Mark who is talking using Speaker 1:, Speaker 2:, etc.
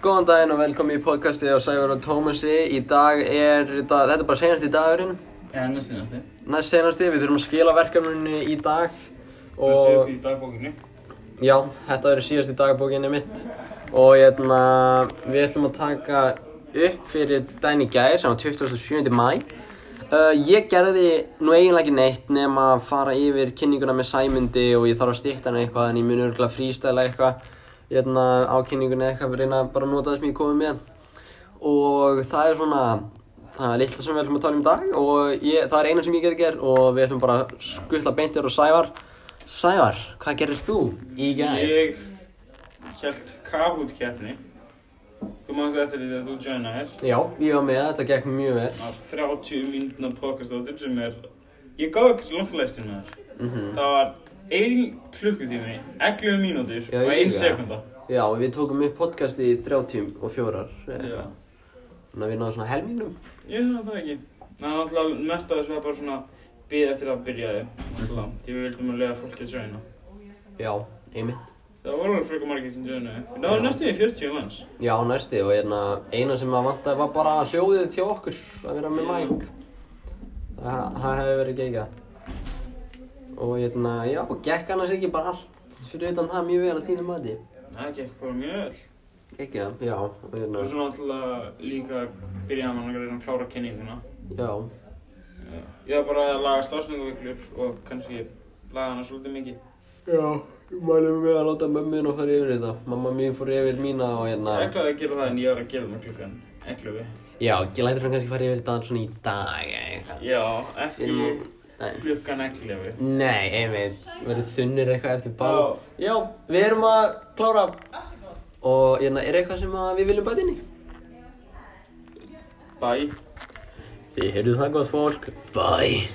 Speaker 1: Góðan daginn og velkomin í podcastið á Sævar og Tómasi. Í dag er, dag, þetta er bara senast í dagurinn,
Speaker 2: Eða næst í næsti.
Speaker 1: næst senasti, við þurfum að skila verkefninu í dag.
Speaker 3: Það séðst í dagbókinni.
Speaker 1: Já, þetta verður síðast í dagbókinni mitt. Og hérna, við ætlum að taka upp fyrir daginn í gær sem var 27. mæ. Uh, ég gerði nú eiginlega ekki neitt nema að fara yfir kynninguna með Sæmundi og ég þarf að stýtta hana eitthvað en ég mun örgulega frístæla eitthvað hérna, á kynninguna eitthvað fyrir reyna bara að nota það sem ég komið með og það er svona það er litla sem við ætlum að tala um í dag og ég, það er eina sem ég gerði ger og við ætlum bara að skuttla beintir og Sævar Sævar, hvað gerir þú í gær?
Speaker 3: Ég held Kahoot keppni. Þú mannst eftir því að þú joina þér.
Speaker 1: Já, ég var með, þetta gekk mjög vel
Speaker 3: Það var 30 mínúna podcast á þetta sem er... Ég gáði ekki svo langt læstinu þar.
Speaker 1: Mhm.
Speaker 3: Það var ein klukkutími, 11 mínútur
Speaker 1: Já,
Speaker 3: og
Speaker 1: ég
Speaker 3: ein
Speaker 1: líka.
Speaker 3: sekunda.
Speaker 1: Já, við tókum upp podcasti í þrjá tím og fjórar eh,
Speaker 3: Já.
Speaker 1: Þannig að við náðum svona helminum
Speaker 3: Ég finna það ekki. Það er náttúrulega mest af þessu var bara svona bið eftir að byrja þig. Náttúrulega. Því við vildum að lega fólki að joina.
Speaker 1: Já, einmitt
Speaker 3: Það voru alveg frekar margir sem joinaði. Það var
Speaker 1: Já.
Speaker 3: næstu í 40 manns.
Speaker 1: Já, næsti og hérna, eina sem að vantaði var bara hljóðið til okkur að vera með mæk Það, það hefði verið geikað Og hérna, já, gekk annars ekki bara allt fyrir utan það mjög vel að þínu mati
Speaker 3: Það gekk bara mjög vel.
Speaker 1: Gekkið, já, og hérna,
Speaker 3: Og svo náttúrulega líka byrjaði maður að reyna að klára kenninguna.
Speaker 1: já,
Speaker 3: Já. Ég var bara að laga stafsningaviklur og kannski laga hana svolítið mikið.
Speaker 1: Já, mælum við að láta mömmin og fara yfir þetta Mamma mín fór yfir mína og hérna
Speaker 3: Ég ætlaði að gera það en ég var að gera það með klukkan 11.
Speaker 1: Já, ég lætur hann kannski fara yfir þetta svona í dag eða eitthvað
Speaker 3: Já, ekki
Speaker 1: Inn- Nei.
Speaker 3: klukkan 11.
Speaker 1: Nei, einmitt, verður þunnir eitthvað eftir ball Já, við erum að klára Og hérna, er eitthvað sem að við viljum bæta inn í?
Speaker 3: Bæ.
Speaker 1: Þið heyrðu það gott fólk Bye